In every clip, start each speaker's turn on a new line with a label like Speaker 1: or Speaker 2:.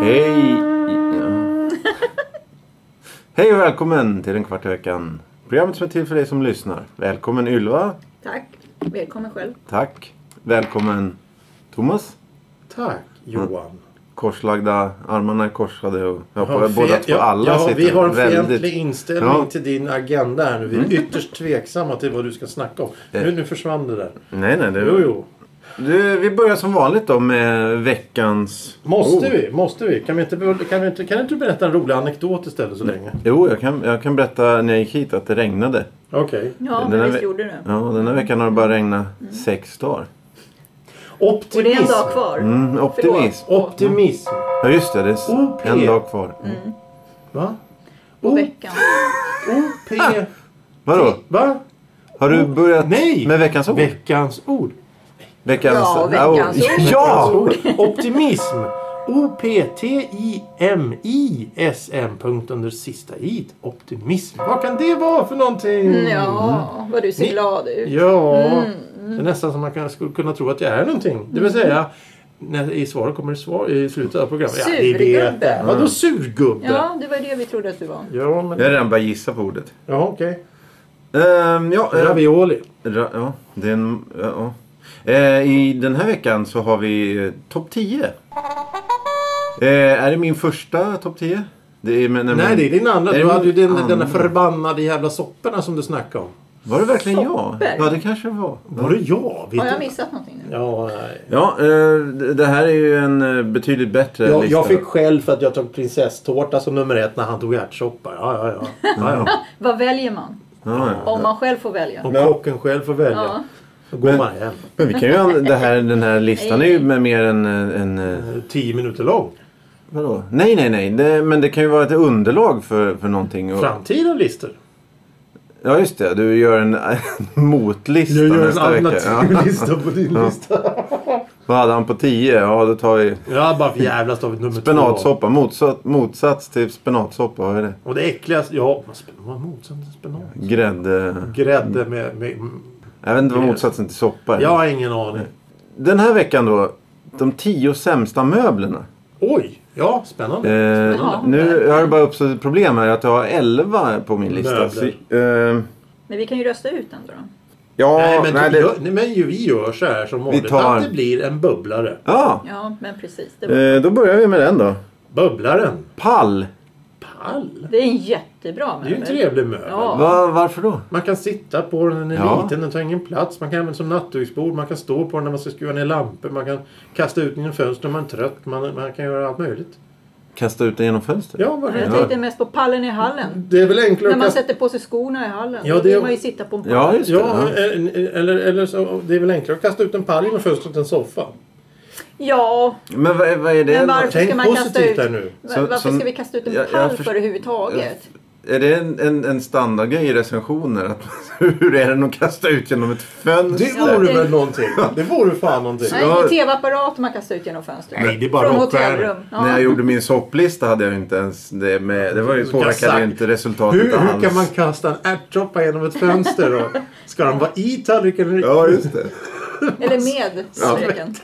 Speaker 1: Hej! Ja. Hej och välkommen till den kvarta veckan. Programmet som är till för dig som lyssnar. Välkommen Ylva.
Speaker 2: Tack. Välkommen själv.
Speaker 1: Tack. Välkommen Thomas.
Speaker 3: Tack
Speaker 1: Mm.
Speaker 3: Johan.
Speaker 1: Korslagda, armarna är korsade och jag
Speaker 3: Har
Speaker 1: hoppas
Speaker 3: fe-
Speaker 1: båda två
Speaker 3: ja,
Speaker 1: alla
Speaker 3: ja,
Speaker 1: sitter
Speaker 3: vi har en
Speaker 1: väldigt...
Speaker 3: fientlig inställning
Speaker 1: Ja. Mm.
Speaker 3: till din agenda här nu. Vi är ytterst tveksamma till vad du ska snacka om.
Speaker 1: Eh.
Speaker 3: Nu, nu försvann det där.
Speaker 1: Nej, nej. Det...
Speaker 3: Jo, jo.
Speaker 1: Du, vi börjar som vanligt då med veckans...
Speaker 3: Måste
Speaker 1: Oh.
Speaker 3: vi? Måste vi? Kan, vi inte, be- kan, vi inte, kan inte du berätta en rolig anekdot istället
Speaker 1: Mm.
Speaker 3: så länge?
Speaker 1: Jo, jag kan, jag kan berätta när jag gick hit att det regnade.
Speaker 3: Okej.
Speaker 2: Ja,
Speaker 1: Den
Speaker 2: men
Speaker 1: här
Speaker 2: visst
Speaker 1: ve-
Speaker 2: gjorde Mm. du.
Speaker 1: Ja, den här veckan har det bara regnat sex dagar.
Speaker 2: Och det är en
Speaker 3: Optimism.
Speaker 2: dag kvar.
Speaker 1: Mm, optimism.
Speaker 3: Optimism.
Speaker 1: Ja, just det. Det är s-
Speaker 3: OP.
Speaker 1: en dag kvar.
Speaker 3: Mm. Va?
Speaker 2: På veckan.
Speaker 3: OP.
Speaker 1: Vadå?
Speaker 3: Va?
Speaker 1: Har du börjat
Speaker 3: Nej.
Speaker 1: Ah! med veckans ord?
Speaker 3: Veckans ord.
Speaker 1: veckans...
Speaker 2: Ja, veckans
Speaker 1: Ja,
Speaker 2: ord.
Speaker 1: Ja!
Speaker 3: Veckans ord. Optimism. O-P-T-I-M-I-S-M. Punkt under sista i. Optimism. Vad kan det vara för någonting?
Speaker 2: Mm. Ja, vad du ser
Speaker 3: Ni-
Speaker 2: glad ut.
Speaker 3: Ja,
Speaker 2: Mm.
Speaker 3: det är nästan som man kan, skulle kunna tro att jag är någonting. Det vill säga, när, i svaret kommer det svar i slutet av programmet. Ja, ni vet det.
Speaker 2: Surgubbe.
Speaker 3: Vadå surgubbe?
Speaker 2: Ja, det var det vi trodde att du var.
Speaker 3: ja men...
Speaker 1: Jag har redan börjat gissa på ordet.
Speaker 3: Ja, okej.
Speaker 1: Ehm, ja, eh,
Speaker 3: Ravioli.
Speaker 1: ra, ja, det är en, ja, ja. Eh, I den här veckan så har vi eh, topp 10. Eh, är det min första topp 10? Det är, men,
Speaker 3: Nej, det är din
Speaker 1: Är
Speaker 3: andra.
Speaker 1: det
Speaker 3: Du
Speaker 1: min
Speaker 3: hade ju den, den
Speaker 1: andra?
Speaker 3: där förbannade jävla sopporna som du snackade om.
Speaker 1: Var det verkligen jag?
Speaker 2: Sopper.
Speaker 1: Ja, det kanske var.
Speaker 3: Var det jag? Vet
Speaker 2: Har jag
Speaker 3: du?
Speaker 2: missat någonting nu?
Speaker 3: Ja, nej.
Speaker 1: Ja, eh, det det här är ju en eh, betydligt bättre
Speaker 3: Jag,
Speaker 1: lista.
Speaker 3: jag fick skäll för att jag tog prinsesstårta som nummer ett när han tog ärtsoppa. Ja, ja, ja. ja, ja.
Speaker 2: Vad väljer man?
Speaker 1: Ja, ja.
Speaker 2: Om man själv får välja.
Speaker 3: Om kocken själv får välja.
Speaker 2: Ja.
Speaker 3: Då går man hem.
Speaker 1: Men vi kan ju, an- det här, den här listan är ju med mer än... eh, en, eh,
Speaker 3: Tio minuter lång.
Speaker 1: vadå? Nej, nej, nej. Det, men det kan ju vara ett underlag för, för någonting. Och,
Speaker 3: Framtida listor.
Speaker 1: ja, just det. Du gör en motlista
Speaker 3: Jag gör en
Speaker 1: nästa vecka. Ja.
Speaker 3: alternativlista på din lista.
Speaker 1: Vad hade han på 10? Ja, då tar vi
Speaker 3: Ja, bara för jävlas av nummer två.
Speaker 1: spenatsoppa. Motsats, motsats till spenatsoppa. Vad är det?
Speaker 3: Och det äckligaste, ja, vad spen- vad motsatsen till spenat?
Speaker 1: Grädde.
Speaker 3: Grädde med, med...
Speaker 1: Jag vet inte vad
Speaker 3: Grädde.
Speaker 1: motsatsen till soppa är.
Speaker 3: Jag har ingen aning.
Speaker 1: Den här veckan då. De tio sämsta möblerna.
Speaker 3: Oj, ja, spännande.
Speaker 1: Eh,
Speaker 2: Jaha.
Speaker 1: nu har det bara uppstått ett problem här att jag har 11 på min lista. Så, eh,
Speaker 2: Men vi kan ju rösta ut den då. då.
Speaker 1: ja,
Speaker 3: nej, men,
Speaker 1: nej,
Speaker 3: du,
Speaker 1: det,
Speaker 3: gör- nej, men ju, vi gör så här som vanligt.
Speaker 1: tar-
Speaker 3: Att det blir en bubblare.
Speaker 1: ja
Speaker 2: Ja, men precis. Det, var...
Speaker 1: eh, då börjar vi med den då.
Speaker 3: Bubblaren.
Speaker 1: Pall.
Speaker 3: Pall.
Speaker 2: det är en jättebra
Speaker 3: Det är ju en
Speaker 2: möbel.
Speaker 3: trevlig möbel.
Speaker 2: Ja.
Speaker 1: Va, varför då?
Speaker 3: Man kan sitta på den, den är
Speaker 1: Ja.
Speaker 3: liten, den tar ingen plats. Man kan använda den som nattduksbord, man kan stå på den när man ska skruva ner lampor. Man kan kasta ut den genom fönstret om man är trött. Man, man kan göra allt möjligt.
Speaker 1: Kasta ut den genom fönstret?
Speaker 3: Ja, varför
Speaker 2: Men jag
Speaker 3: inte?
Speaker 2: tänkte mest på pallen i hallen.
Speaker 3: Det är väl enklare
Speaker 2: När
Speaker 3: att
Speaker 2: man
Speaker 3: kasta...
Speaker 2: sätter på sig skorna i hallen.
Speaker 3: Ja,
Speaker 2: Då
Speaker 3: det-
Speaker 2: vill man ju sitta på en pall.
Speaker 1: Ja, just det.
Speaker 3: Ja,
Speaker 1: Ja.
Speaker 3: eller, eller, eller så, det är väl enklare att kasta ut en pall genom fönstret än en soffa.
Speaker 2: Ja,
Speaker 1: Men vad, är- vad är det?
Speaker 2: Men varför- ska
Speaker 3: Tänk
Speaker 2: man kasta
Speaker 3: positivt
Speaker 2: ut-
Speaker 3: där nu.
Speaker 2: va-
Speaker 1: Så-
Speaker 2: varför
Speaker 1: som-
Speaker 2: ska vi kasta ut en
Speaker 1: jag- jag
Speaker 2: pall
Speaker 1: först-
Speaker 2: för överhuvudtaget?
Speaker 1: Är det en, en, en standardgrej i recensioner? Att, hur är den att kasta ut genom ett fönster?
Speaker 3: Det vore
Speaker 2: det-
Speaker 3: väl någonting. Det vore fan någonting.
Speaker 2: Nej,
Speaker 1: Ja.
Speaker 2: ingen tv-apparat man kastar ut genom fönstret.
Speaker 3: Nej, det är bara
Speaker 2: Från
Speaker 3: rockstjärnor.
Speaker 2: hotellrum. Ja.
Speaker 1: När jag gjorde min sopplista hade jag ju inte ens det med. Det var ju,
Speaker 3: Du kan
Speaker 1: påverkade ju
Speaker 3: sagt-
Speaker 1: inte resultatet
Speaker 3: Hur,
Speaker 1: alls.
Speaker 3: hur kan man kasta en ärtsoppa genom ett fönster? Då? Ska den vara i tallriken? eller-
Speaker 1: Ja, just det.
Speaker 2: Eller med streken.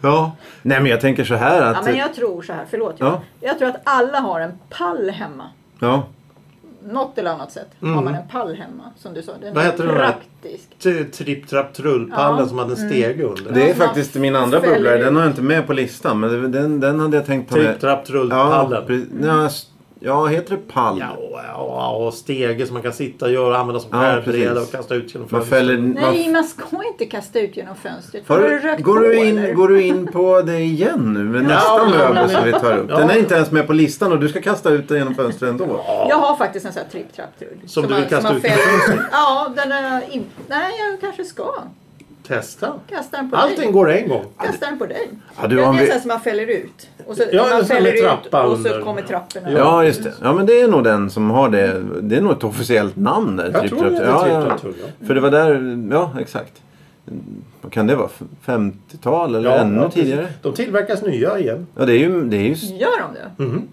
Speaker 1: Ja. Nej, men jag tänker så här att...
Speaker 2: Ja, men jag tror så här, förlåt.
Speaker 1: Ja.
Speaker 2: Ja. Jag tror att alla har en pall hemma.
Speaker 1: ja.
Speaker 2: Något eller annat sätt har man en pall hemma. Som du sa, den
Speaker 3: Vad
Speaker 2: är
Speaker 3: heter den där?
Speaker 2: praktisk.
Speaker 3: T- Tripp, trapp, trull-pallen
Speaker 2: Ja. Mm.
Speaker 3: som hade en stege under.
Speaker 1: Det är
Speaker 2: Ja,
Speaker 1: faktiskt
Speaker 2: man
Speaker 1: min andra
Speaker 2: fäller
Speaker 1: bubblare.
Speaker 2: ut.
Speaker 1: Den har jag inte med på listan. Men det- den, den hade jag tänkt ta
Speaker 3: Tripp,
Speaker 1: med.
Speaker 3: trapp,
Speaker 1: Ja,
Speaker 3: trull-pallen. Ja,
Speaker 1: pre- ja, s- ja, heter det pall?
Speaker 3: ja, ja, och stege som man kan sitta och göra, använda som
Speaker 1: Ja,
Speaker 3: färdbräda
Speaker 1: precis.
Speaker 3: och kasta ut genom
Speaker 1: Man
Speaker 3: fönstret.
Speaker 1: fäller... Man,
Speaker 2: Nej, man ska inte kasta ut genom fönstret.
Speaker 1: har
Speaker 2: För har du
Speaker 1: du,
Speaker 2: rökt
Speaker 1: går,
Speaker 2: på,
Speaker 1: du in,
Speaker 2: eller?
Speaker 1: går du in på det igen nu med nästa
Speaker 3: ja,
Speaker 1: möbel
Speaker 3: men-
Speaker 1: som vi tar upp?
Speaker 3: Ja.
Speaker 1: Den är inte ens med på listan och du ska kasta ut den genom fönstret ändå.
Speaker 2: Jag har faktiskt en sån här tripp trapp trull.
Speaker 3: du vill kasta ut genom
Speaker 2: fäller- Ja, den är in... Nej, jag kanske ska.
Speaker 3: Testa.
Speaker 2: Kasta den på dig.
Speaker 3: Allting går en gång.
Speaker 2: Kasta den på dig.
Speaker 1: Ja, du,
Speaker 2: det är
Speaker 1: om
Speaker 2: en
Speaker 1: vi...
Speaker 2: sån som man fäller ut. Och så,
Speaker 3: Ja,
Speaker 2: man
Speaker 3: en sån
Speaker 2: fäller
Speaker 3: med
Speaker 2: ut
Speaker 3: trappa
Speaker 2: och så
Speaker 3: under.
Speaker 2: kommer trapporna.
Speaker 1: Ja, just det. Ja, men det är nog den som har det. Det är nog ett officiellt namn där.
Speaker 3: Jag tror det typ heter
Speaker 1: typ Ja, ja.
Speaker 3: Tripp Trapp Tull,
Speaker 1: För det var där, ja exakt. Vad kan det vara? 50-tal eller
Speaker 3: ja.
Speaker 1: ännu
Speaker 3: precis.
Speaker 1: tidigare?
Speaker 3: De tillverkas nya igen.
Speaker 1: Ja, det är ju... Det är ju
Speaker 2: Gör de det?
Speaker 3: Mhm.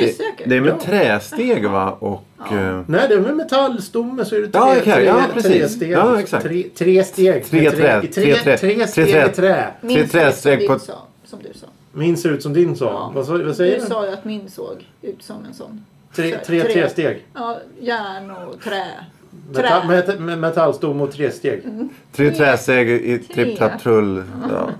Speaker 2: Jag är säker.
Speaker 1: det är med
Speaker 3: Ja.
Speaker 1: trästeg va? Och... eh,
Speaker 3: Nej, det är med metallstomme så är det tre,
Speaker 1: Ja, okej.
Speaker 3: tre,
Speaker 1: Ja,
Speaker 3: tre
Speaker 1: precis.
Speaker 3: steg.
Speaker 1: Ja, exakt.
Speaker 3: Tre, tre steg.
Speaker 1: Tre
Speaker 3: Med
Speaker 1: trä.
Speaker 3: Tre,
Speaker 1: Tre trä.
Speaker 3: tre, tre steg
Speaker 1: Tre trä.
Speaker 3: i trä.
Speaker 1: Tre
Speaker 2: Min såg
Speaker 1: trästeg
Speaker 2: ut
Speaker 1: på-
Speaker 2: som- Som du sa.
Speaker 3: Min ser ut som din sa.
Speaker 2: Ja.
Speaker 3: Vad, sa- vad
Speaker 2: Du
Speaker 3: säger du?
Speaker 2: sa ju att min såg ut som en sån.
Speaker 3: Tre,
Speaker 2: Så-
Speaker 3: tre, tre steg.
Speaker 2: Ja, järn och trä.
Speaker 3: Metall,
Speaker 2: Trä.
Speaker 3: met, med metallstomme och tre steg.
Speaker 1: Tre trästeg i tripp trapp trull. Ja.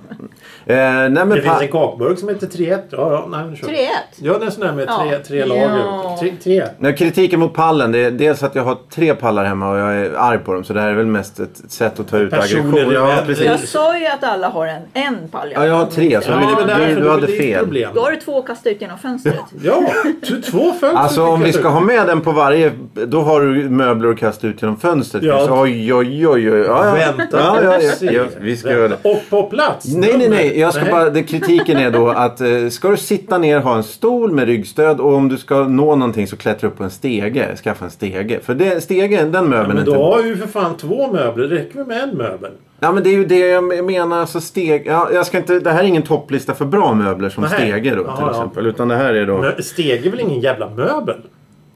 Speaker 1: Eh, nej
Speaker 3: Det
Speaker 1: men
Speaker 3: finns
Speaker 1: pa-
Speaker 3: en kakburk som heter 3-1. Ja, ja, nej, men kör.
Speaker 2: 3-1.
Speaker 3: Ja, det är en sån där med tre,
Speaker 2: Ja.
Speaker 3: tre lager.
Speaker 2: Ja.
Speaker 3: Tre, tre.
Speaker 1: nej, kritiken mot pallen det är dels att jag har tre pallar hemma och jag är arg på dem. Så det här är väl mest ett sätt att ta ut
Speaker 3: Personlig
Speaker 1: aggression. Ja,
Speaker 3: rebell.
Speaker 1: precis.
Speaker 2: Jag sa ju att alla har en, en pall.
Speaker 1: Ja, jag har tre. Så
Speaker 3: Ja,
Speaker 1: du,
Speaker 3: men
Speaker 1: du,
Speaker 3: därför
Speaker 1: du
Speaker 3: det var
Speaker 1: hade
Speaker 3: ditt
Speaker 1: fel.
Speaker 3: Problem.
Speaker 2: Då har du två att kasta ut genom fönstret.
Speaker 3: Ja, t- två fönster.
Speaker 1: Alltså om vi
Speaker 3: skickas
Speaker 1: ska
Speaker 3: ut.
Speaker 1: ha med den på varje, då har du möbler att kasta ut genom fönstret.
Speaker 3: Ja.
Speaker 1: Så, oj, oj, oj, oj. Ja, ja.
Speaker 3: Vänta.
Speaker 1: Ja, ja, ja,
Speaker 3: Se.
Speaker 1: ja, vi ska göra det.
Speaker 3: Och på plats.
Speaker 1: Nej, nej, nej. Jag ska
Speaker 3: Nej.
Speaker 1: bara, det, kritiken är då att eh, ska du sitta ner, ha en stol med ryggstöd och om du ska nå någonting så klättra upp på en stege. Skaffa en stege. För det, stegen, den möbeln
Speaker 3: Men
Speaker 1: är
Speaker 3: då
Speaker 1: inte...
Speaker 3: har ju för fan två möbler. Det räcker väl med en möbel?
Speaker 1: Ja, men det är ju det jag menar. Alltså steg... Ja, jag ska inte... Det här är ingen topplista för bra möbler som
Speaker 3: Nej.
Speaker 1: stege då, till
Speaker 3: Ja, ja.
Speaker 1: exempel. Utan det här är då...
Speaker 3: Men steg är väl ingen jävla möbel?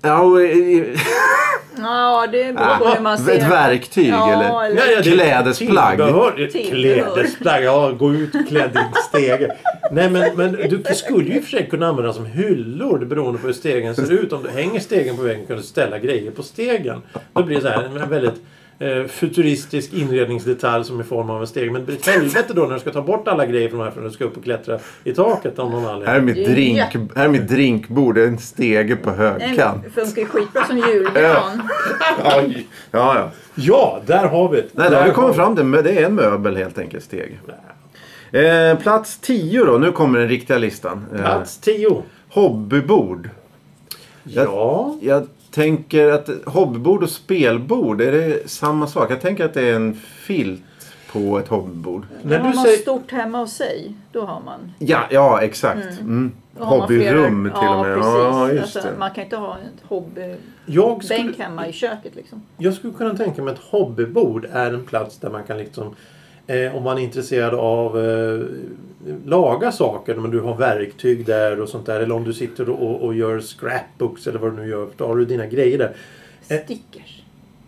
Speaker 1: Ja, och, eh,
Speaker 2: Ja, det beror på hur man ser
Speaker 1: Ah, ett verktyg
Speaker 2: ja,
Speaker 1: eller?
Speaker 2: eller-
Speaker 3: det är
Speaker 1: Klädesplagg.
Speaker 3: Tillbehör.
Speaker 2: Tillbehör.
Speaker 3: Klädesplagg. Ja, gå ut klädd i en stege. Nej, men, men du skulle ju i och för sig kunna använda dem som hyllor beroende på hur stegen ser ut. Om du hänger stegen på väggen kan du ställa grejer på stegen. Då blir det så här en väldigt eh, futuristisk inredningsdetalj som är i form av en steg. Men det blir ett helvete då när du ska ta bort alla grejer från de här för att du ska upp och klättra i taket av någon
Speaker 1: Här är
Speaker 3: anledning.
Speaker 1: mitt,
Speaker 2: Det är
Speaker 1: drink,
Speaker 2: jätte-
Speaker 1: här är mitt drinkbord. Det är En stege på högkant.
Speaker 2: Den funkar ju skitbra som julgran.
Speaker 1: Ja, ja.
Speaker 3: Ja, där har vi det.
Speaker 1: Nej, det har
Speaker 3: Där
Speaker 1: vi
Speaker 3: har vi-
Speaker 1: kommit fram till. Men Det är en möbel helt enkelt, steg. Eh, plats 10 då. Nu kommer den riktiga listan. Eh,
Speaker 3: Plats 10.
Speaker 1: hobbybord.
Speaker 3: Ja.
Speaker 1: Jag tänker att hobbybord och spelbord, är det samma sak? Jag tänker att det är en filt på ett hobbybord.
Speaker 3: När
Speaker 2: har
Speaker 3: du
Speaker 2: man
Speaker 3: säger...
Speaker 2: stort hemma hos sig, då har man.
Speaker 1: Ja, ja exakt. Mm.
Speaker 2: Då har man flera-
Speaker 1: Hobbyrum till
Speaker 2: ja,
Speaker 1: och med.
Speaker 2: Precis.
Speaker 1: Ja, just
Speaker 2: alltså,
Speaker 1: det.
Speaker 2: Man kan inte ha en hobbybänk
Speaker 3: Jag skulle,
Speaker 2: hemma i köket liksom.
Speaker 3: jag skulle kunna tänka mig att hobbybord är en plats där man kan liksom eh, om man är intresserad av eh, laga saker, men du har verktyg där och sånt där. Eller om du sitter och, och gör scrapbooks eller vad du nu gör. Då har du dina grejer där. Eh.
Speaker 2: Stickers.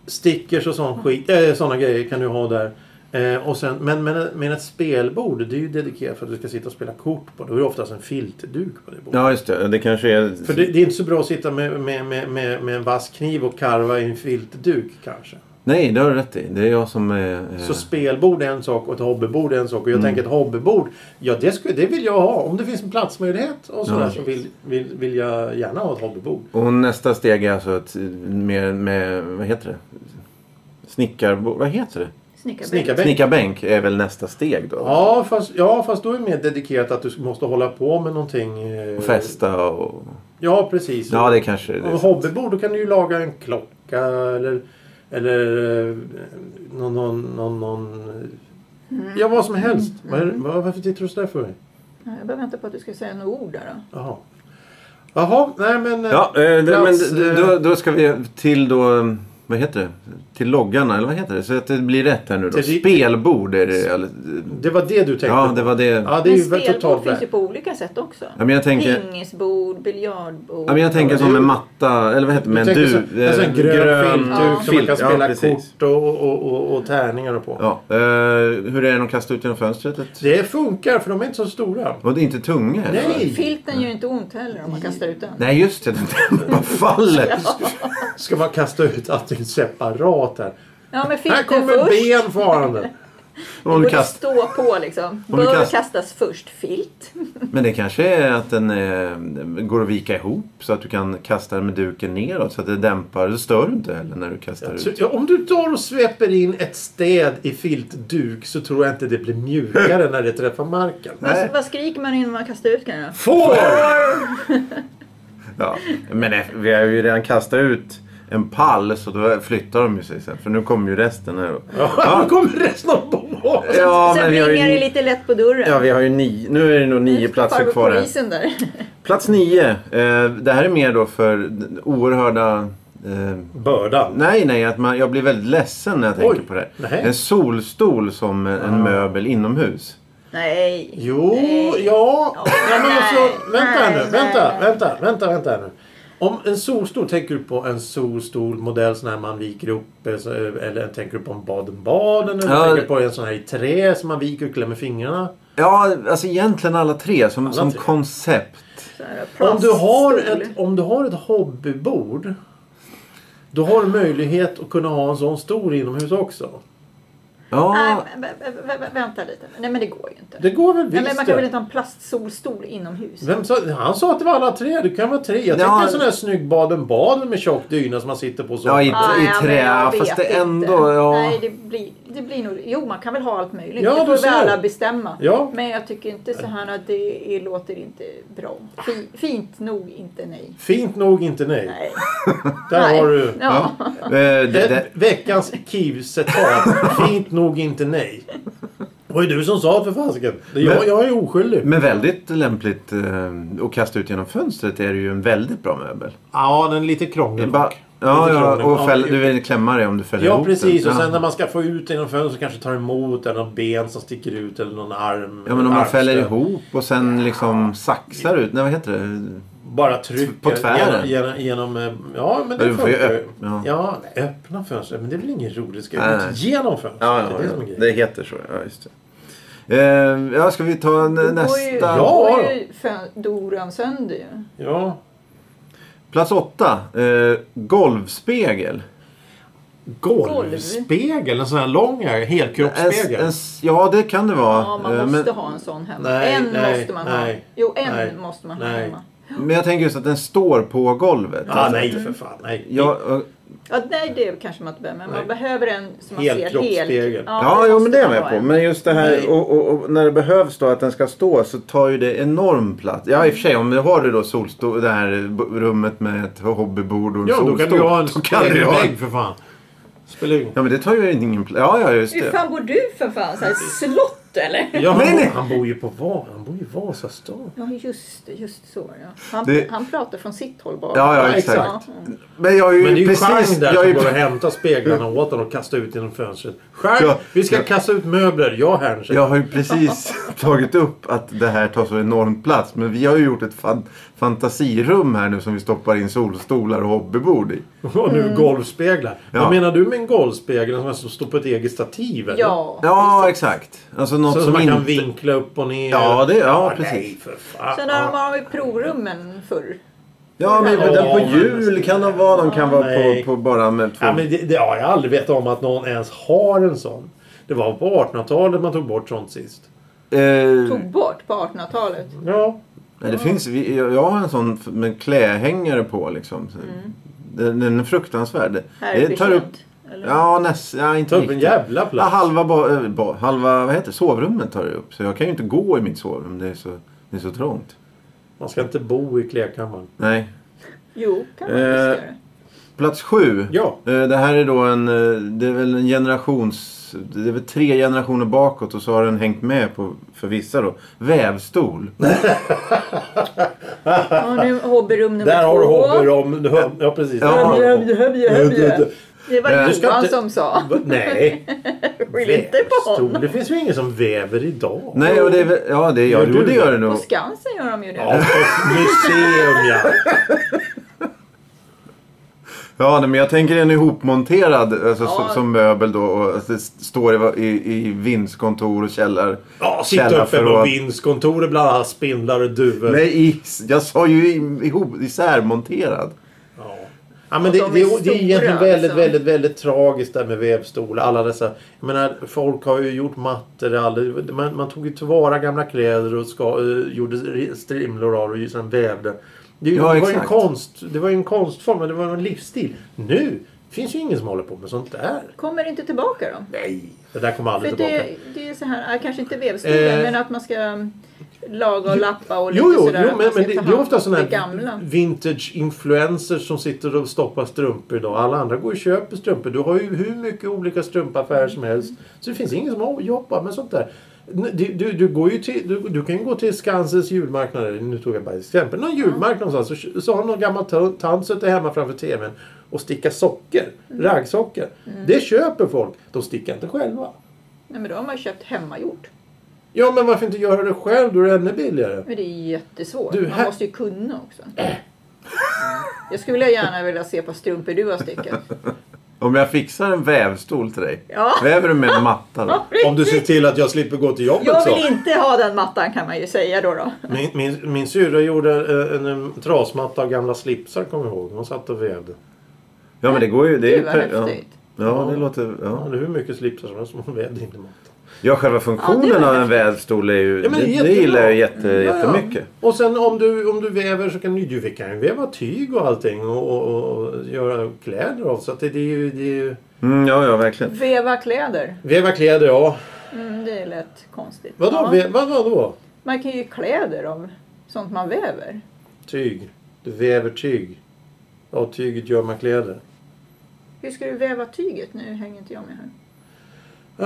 Speaker 3: Stickers och sån skit, eh, såna grejer kan du ha där. Eh, och sen, men, men, men ett spelbord, det är ju dedikerat för att du ska sitta och spela kort på. Då är det oftast en filtduk på det bordet.
Speaker 1: Ja, just det. Det kanske är...
Speaker 3: För det, det är inte så bra att sitta med, med, med, med, med en vass kniv och karva i en filtduk kanske.
Speaker 1: Nej, det har du rätt i. Det är jag som är... eh, Mm.
Speaker 3: Så spelbord är en sak och ett hobbybord är en sak. Och jag tänker ett hobbybord, ja det, skulle, det vill jag ha. Om det finns en platsmöjlighet och sådär
Speaker 1: Ja.
Speaker 3: så vill, vill, vill jag gärna ha ett hobbybord.
Speaker 1: Och nästa steg är alltså ett med, med vad heter det? Snickar, vad heter det?
Speaker 2: Snickarbänk.
Speaker 3: Snickarbänk.
Speaker 1: Snickarbänk är väl nästa steg då?
Speaker 3: Ja fast, ja, fast då är det mer dedikerat att du måste hålla på med någonting. eh,
Speaker 1: Och festa och...
Speaker 3: Ja, precis.
Speaker 1: Ja, det kanske det
Speaker 3: Och
Speaker 1: är.
Speaker 3: hobbybord, då kan du ju laga en klocka eller, eller eh, någon, någon, någon, någon eh, Ja, vad som helst. Vad är, vad, varför tittar du sådär för mig?
Speaker 2: Ja, Jag bara väntar på att du ska säga några ord där då.
Speaker 3: Jaha. Jaha, nej men... eh,
Speaker 1: Ja, eh, det, men
Speaker 3: plats, eh,
Speaker 1: då, då ska vi till då... eh, Vad heter det? Till loggarna, eller vad heter det? Så att det blir rätt här nu då.
Speaker 3: Till-
Speaker 1: Spelbord är det. Eller,
Speaker 3: Det var det du tänkte
Speaker 1: ja, det
Speaker 3: på.
Speaker 1: var det. Ja,
Speaker 3: Ja, det är ju
Speaker 2: men
Speaker 3: väl
Speaker 2: spelbord
Speaker 3: totalt
Speaker 2: finns ju
Speaker 3: värt.
Speaker 2: på olika sätt också.
Speaker 1: men jag tänker...
Speaker 2: Pingisbord, biljardbord.
Speaker 1: Ja, men jag tänker som en matta, eller vad heter det? Men
Speaker 3: Du tänker
Speaker 1: du...
Speaker 3: så- en sån
Speaker 1: eh,
Speaker 3: grön, filtduk som man kan
Speaker 1: filt, ja,
Speaker 3: spela
Speaker 1: precis.
Speaker 3: kort och, och, och, och tärningar på.
Speaker 1: Ja, eh, hur är den att kasta ut genom fönstret? Ett-
Speaker 3: Det funkar för de är inte så stora.
Speaker 1: Och det är inte tunga heller? va?
Speaker 3: Nej!
Speaker 2: Filten gör ju inte ont heller om man kastar ut den.
Speaker 1: Nej just det, den dämpar fallet.
Speaker 3: Ska man kasta ut allting separat här?
Speaker 2: Ja, men
Speaker 3: Här
Speaker 2: filten
Speaker 3: kommer
Speaker 2: först.
Speaker 3: ben farande.
Speaker 1: Om du
Speaker 2: Borde
Speaker 1: kast...
Speaker 2: stå på liksom.
Speaker 1: Om du
Speaker 2: Bör
Speaker 1: kast-
Speaker 2: kastas först filt.
Speaker 1: Men det kanske är att den eh, går att vika ihop så att du kan kasta den med duken neråt så att det dämpar. Det stör du inte heller när du kastar
Speaker 3: Så,
Speaker 1: ut.
Speaker 3: ja, om du tar och sveper in ett städ i filtduk så tror jag inte det blir mjukare när det träffar marken.
Speaker 1: Nej.
Speaker 2: Vad, vad skriker man innan man kastar ut grejerna?
Speaker 3: Får!
Speaker 1: Ja. Men det, vi har ju redan kastat ut en pall så då flyttar de ju sig sen. För nu kommer ju resten här. då.
Speaker 3: Ja, då kommer resten av bordet. på.
Speaker 1: Ja,
Speaker 4: Sen
Speaker 1: men vi har
Speaker 4: plingar det
Speaker 1: ju,
Speaker 4: lite lätt på dörren.
Speaker 1: ja, vi har ju nio, nu är det nog nio platser
Speaker 2: Farbror
Speaker 1: kvar. här.
Speaker 2: polisen där.
Speaker 1: Plats nio. Eh, det här är mer då för den oerhörda... Eh,
Speaker 3: Bördan.
Speaker 1: nej, nej, att man, jag blir väldigt ledsen när jag tänker
Speaker 3: Oj,
Speaker 1: på det.
Speaker 3: nej. Ah.
Speaker 1: En solstol som en, en möbel inomhus.
Speaker 4: Nej.
Speaker 3: Jo,
Speaker 4: Nej.
Speaker 3: ja. ja men alltså,
Speaker 4: Nej.
Speaker 3: vänta här nu.
Speaker 4: Nej.
Speaker 3: Vänta, vänta, vänta, vänta här nu. Om en solstol, tänker du på en solstol modell sån här man viker upp eh, så- eller tänker du på en Baden-Baden eller
Speaker 1: Ja.
Speaker 3: tänker du på en sån här i trä som man viker och klämmer fingrarna?
Speaker 1: Ja, alltså egentligen alla tre som, som
Speaker 3: tre.
Speaker 1: koncept.
Speaker 4: Så här,
Speaker 3: Om du, har
Speaker 4: plaststol.
Speaker 3: ett, om du har ett hobbybord då har du möjlighet att kunna ha en sån stol inomhus också.
Speaker 2: Nej,
Speaker 1: Ja,
Speaker 2: men- vä- vä- vä- vänta lite. Nej men det går ju inte.
Speaker 3: Det går väl
Speaker 2: Nej,
Speaker 3: visst
Speaker 2: men man
Speaker 3: det.
Speaker 2: kan väl inte ha en plastsolstol inomhus?
Speaker 3: Vem sa, han sa att det var alla tre. Det kan vara tre. Jag tänkte
Speaker 1: Ja.
Speaker 3: en sån här snygg Baden-Baden med tjock dyna som man sitter på. Så.
Speaker 1: ja i,
Speaker 2: Ah,
Speaker 1: i
Speaker 2: ja, men
Speaker 1: trä.
Speaker 2: jag vet
Speaker 1: fast det
Speaker 2: inte.
Speaker 1: ändå... Ja.
Speaker 2: Nej, det blir, det blir nog... Jo, man kan väl ha allt möjligt.
Speaker 3: Ja,
Speaker 2: det
Speaker 3: då
Speaker 2: får
Speaker 3: så.
Speaker 2: väl alla bestämma.
Speaker 3: Ja.
Speaker 2: Men jag tycker inte så här att det är, låter inte bra. Fi, fint nog inte nej.
Speaker 3: Fint nog inte nej.
Speaker 2: Nej.
Speaker 3: Där
Speaker 2: nej.
Speaker 3: har du
Speaker 2: Ja.
Speaker 1: Eh, det,
Speaker 3: ett,
Speaker 1: det,
Speaker 3: veckans Kivs-citat. Fint nog inte nej. Det var ju du som sa det för fasiken. Det är Jag,
Speaker 1: Men-
Speaker 3: jag är oskyldig.
Speaker 1: men väldigt lämpligt eh, att kasta ut genom fönstret är det ju en väldigt bra möbel.
Speaker 3: ja, den är lite krånglig.
Speaker 1: Ba-
Speaker 3: dock.
Speaker 1: ja,
Speaker 3: Lite
Speaker 1: ja,
Speaker 3: krånglig.
Speaker 1: och fäll,
Speaker 3: det-
Speaker 1: du vill klämma det om du fäller
Speaker 3: Ja
Speaker 1: ihop
Speaker 3: precis
Speaker 1: den.
Speaker 3: och
Speaker 1: Ja.
Speaker 3: sen när man ska få ut genom fönstret kanske tar emot eller någon ben som sticker ut eller någon arm.
Speaker 1: Ja men om man
Speaker 3: armstöd.
Speaker 1: fäller ihop och sen liksom saxar ut. Nej vad heter det?
Speaker 3: Bara trycker.
Speaker 1: På tvären.
Speaker 3: Genom, genom, genom, eh, ja men
Speaker 1: Ja,
Speaker 3: det
Speaker 1: du får ju
Speaker 3: funkar ju.
Speaker 1: öpp- ja.
Speaker 3: Ja, öppna fönstret. Men det är väl ingen roligt. Ska
Speaker 1: Nej.
Speaker 3: jag gå ut genom fönstret? det är det som är grejen.
Speaker 1: heter så. Ja, just det. Eh, ja, ska vi ta en,
Speaker 2: Då går ju,
Speaker 1: nästa?
Speaker 3: Ja.
Speaker 2: då går ju fön- doran sönder ju.
Speaker 3: Ja.
Speaker 1: Plats åtta. Eh, golvspegel.
Speaker 3: Golvspegel. En sån här lång här, helkroppsspegel.
Speaker 1: En, en, ja, det kan det vara.
Speaker 2: Ja, man
Speaker 1: Eh,
Speaker 2: måste
Speaker 1: men,
Speaker 2: ha en sån hemma.
Speaker 3: Nej,
Speaker 2: en
Speaker 3: nej,
Speaker 2: måste man ha.
Speaker 3: nej,
Speaker 2: Jo, en
Speaker 3: nej,
Speaker 2: måste man ha
Speaker 3: nej.
Speaker 2: hemma.
Speaker 1: men jag tänker just att den står på golvet. Alltså,
Speaker 3: ah, nej för fan. Nej.
Speaker 1: Ja, eh,
Speaker 2: Ja, nej, det kanske man inte behöver. Men
Speaker 3: Nej.
Speaker 2: man behöver en som man ser
Speaker 3: Helkroppsspegel.
Speaker 2: helt.
Speaker 1: ja jo, men det är jag
Speaker 2: måste
Speaker 1: med
Speaker 2: man
Speaker 1: på.
Speaker 2: ha.
Speaker 1: Men just det
Speaker 3: Nej.
Speaker 1: här och, och, och när det behövs då att den ska stå så tar ju det enorm plats. Ja, i och för sig om du har det då solstol, det här b- rummet med ett hobbybord och en
Speaker 3: Ja, då
Speaker 1: solstol.
Speaker 3: kan du ha en
Speaker 1: då kan du ha en-
Speaker 3: spegelvägg för fan. Spelar ju
Speaker 1: Ja men det tar ju ingen plats. Ja, ja just
Speaker 4: Hur
Speaker 1: det.
Speaker 4: fan bor du för fan? Så här, slott eller?
Speaker 3: Ja,
Speaker 1: Nej,
Speaker 3: han,
Speaker 1: nej.
Speaker 3: han bor ju på Va- han bor ju i Vasastan.
Speaker 2: Ja, just det, just så. Ja. Han,
Speaker 1: Det-
Speaker 2: han pratar från sitt håll bara.
Speaker 1: Ja, ja
Speaker 3: Ja, exakt.
Speaker 1: exakt. Men jag är ju
Speaker 3: Men det är ju
Speaker 1: precis...
Speaker 3: Chang
Speaker 1: Jag
Speaker 3: där
Speaker 1: är
Speaker 3: som
Speaker 1: ju,
Speaker 3: går och hämtar speglarna åt honom och kastar ut genom fönstret. Chang,
Speaker 1: Ja,
Speaker 3: vi ska
Speaker 1: ja.
Speaker 3: kasta ut möbler. Jag här
Speaker 1: jag har ju precis tagit upp att det här tar så enormt plats. Men vi har ju gjort ett fan, fantasirum här nu som vi stoppar in solstolar och hobbybord i.
Speaker 3: Och
Speaker 2: Mm.
Speaker 3: nu golvspeglar.
Speaker 1: Ja.
Speaker 3: Vad menar du med en golvspegel som alltså står på ett eget stativ? eller?
Speaker 2: Ja,
Speaker 1: Ja, exakt. Alltså något
Speaker 3: Så som
Speaker 1: som
Speaker 3: man
Speaker 1: inte...
Speaker 3: kan vinkla upp och ner.
Speaker 1: Ja, det- ja,
Speaker 3: Ah, Nej,
Speaker 1: precis.
Speaker 3: för fan.
Speaker 2: Sen har de har ju provrummen förr.
Speaker 1: Ja, men
Speaker 3: Ja,
Speaker 1: den på
Speaker 3: men-
Speaker 1: jul kan de vara. De kan vara
Speaker 3: Nej.
Speaker 1: på, på bara med två...
Speaker 3: Ja, men det, det har jag aldrig vetat om att någon ens har en sån. Det var på 1800-talet man tog bort sånt sist.
Speaker 1: Eh,
Speaker 2: Tog bort på 1800-talet.
Speaker 3: Ja.
Speaker 1: nej, det finns... vi- Jag jag har en sån f- med klähängare på liksom. Den, den är fruktansvärd.
Speaker 2: Här är
Speaker 1: Det tar upp...
Speaker 2: eller?
Speaker 1: Ja, nästan. Ja, inte
Speaker 3: Ta upp en
Speaker 1: riktigt.
Speaker 3: jävla
Speaker 1: Ja,
Speaker 3: plats.
Speaker 1: halva, ba, eh, ba, halva vad heter, det? sovrummet tar det upp. Så jag kan ju inte gå i mitt sovrum. Det är så, det är så trångt.
Speaker 3: Man ska inte bo i kläkammaren.
Speaker 1: Nej.
Speaker 2: Jo, kan man
Speaker 1: Eh,
Speaker 2: visst göra.
Speaker 1: Plats sju.
Speaker 3: Ja.
Speaker 1: Eh, Det här är då en... eh, Det är väl en generations... Det är väl tre generationer bakåt och så har den hängt med på, för vissa då. Vävstol.
Speaker 2: Ja, nu hobbyrum nummer
Speaker 3: Där
Speaker 2: två.
Speaker 3: har du hobbyrom. Ja, precis.
Speaker 1: Ja.
Speaker 3: Där har du hobby.
Speaker 2: Hubje, hubje, hubje. Det var
Speaker 1: Eh,
Speaker 2: Johan
Speaker 1: du
Speaker 3: ska inte-
Speaker 2: som sa.
Speaker 3: Va- Nej.
Speaker 2: Skyll inte på
Speaker 3: Vävstol.
Speaker 2: honom.
Speaker 3: Det finns ju ingen som väver idag.
Speaker 1: Nej, och det är väl... Ja, det, ja,
Speaker 3: Gör
Speaker 1: jo,
Speaker 3: du
Speaker 1: det
Speaker 3: det?
Speaker 1: gör det nog.
Speaker 2: På Skansen gör de ju det.
Speaker 3: Ja, på museum ja.
Speaker 1: Ja, nej, men jag tänker en ihopmonterad alltså,
Speaker 2: Ja.
Speaker 1: som, som möbel då. Och, att det står i, i, i vindskontor och källar,
Speaker 3: ja sitta uppe på
Speaker 1: källarförråd.
Speaker 3: vindskontoret bland alla spindlar och duvor.
Speaker 1: Nej, i, jag sa ju i- ihop, isärmonterad.
Speaker 3: Ja. Ja, men
Speaker 2: Och
Speaker 3: det,
Speaker 2: de är
Speaker 3: det, är- det är
Speaker 2: stora,
Speaker 3: egentligen väldigt,
Speaker 2: alltså.
Speaker 3: väldigt, väldigt tragiskt där med vävstol. Alla dessa, jag menar, folk har ju gjort mattor. Aldrig, man, man tog ju tillvara gamla kläder och ska, eh, gjorde ri- strimlor av det och sen vävde. Det,
Speaker 1: Ja,
Speaker 3: det, var ju en
Speaker 1: exakt.
Speaker 3: konst, det var ju en konstform, men det var en livsstil. Nu finns ju ingen som håller på med sånt där.
Speaker 2: Kommer det inte tillbaka då?
Speaker 3: Nej. Det där kommer aldrig
Speaker 2: För
Speaker 3: tillbaka.
Speaker 2: det, det är så här, äh, kanske inte vevstolen,
Speaker 3: Eh.
Speaker 2: men att man ska laga och lappa och
Speaker 3: Jo,
Speaker 2: lite
Speaker 3: jo,
Speaker 2: sådär.
Speaker 3: jo
Speaker 2: att
Speaker 3: men,
Speaker 2: man ska
Speaker 3: men det,
Speaker 2: ta
Speaker 3: det
Speaker 2: hand
Speaker 3: är
Speaker 2: om
Speaker 3: ofta sådana
Speaker 2: det gamla.
Speaker 3: här vintage-influencers som sitter och stoppar strumpor idag. Alla andra går och köper strumpor. Du har ju hur mycket olika strumpaffärer som helst. Så det finns ingen som har- jobbar med sånt där. N- Du, du, du, går ju till, du, du kan ju gå till Skansens julmarknad, eller nu tog jag bara ett exempel, någon julmarknad någonstans så, så har någon gammal ta- tant suttit hemma framför TVn och stickat socker,
Speaker 2: Mm.
Speaker 3: raggsocker. Det köper folk, de stickar inte själva.
Speaker 2: Nej, men då har man köpt hemmagjort.
Speaker 3: Ja men varför inte göra det själv, då är det ännu billigare.
Speaker 2: Men det är jättesvårt.
Speaker 3: Du,
Speaker 2: Man
Speaker 3: här- Äh.
Speaker 2: måste ju kunna också. Mm. Jag skulle gärna vilja se på strumpor du har stickat.
Speaker 1: Om jag fixar en vävstol till dig.
Speaker 2: Ja.
Speaker 1: Väver du med en matta då?
Speaker 3: Om du ser till att jag slipper gå till jobbet
Speaker 2: Jag
Speaker 3: så.
Speaker 2: vill inte ha den mattan kan man ju säga då. då.
Speaker 3: Min, min, min syrra gjorde eh, en, en trasmatta av gamla slipsar, kommer jag ihåg. Hon satt och vävde.
Speaker 1: Ja men det går ju. Det är
Speaker 2: Gud
Speaker 1: ju
Speaker 2: vad
Speaker 1: per- ja.
Speaker 2: häftigt.
Speaker 1: ja det låter...
Speaker 3: Hon
Speaker 1: Ja.
Speaker 3: hade hur mycket slipsar som helst, men hon vävde inte mattan.
Speaker 1: ja själva funktionen
Speaker 2: Ja, det var
Speaker 1: av en vävstol är ju...
Speaker 3: Ja, men det är
Speaker 1: det, det
Speaker 3: jättebra.
Speaker 1: gillar jag jätte,
Speaker 3: Ja, ja.
Speaker 1: jättemycket.
Speaker 3: Och sen om du, om du väver så kan du, du kan ju väva tyg och allting och, och, och göra kläder av. Så att det, det är ju... Det är ju
Speaker 1: Mm, ja, ja verkligen.
Speaker 2: Veva kläder.
Speaker 3: väva kläder, ja.
Speaker 2: Mm, det lät konstigt.
Speaker 3: Vadå?
Speaker 2: Ja.
Speaker 3: Vä, vad, vadå?
Speaker 2: Man kan ju kläder av sånt man väver.
Speaker 3: Tyg. Du väver tyg. Av tyget gör man kläder.
Speaker 2: Hur ska du väva tyget? Nu hänger inte jag med här.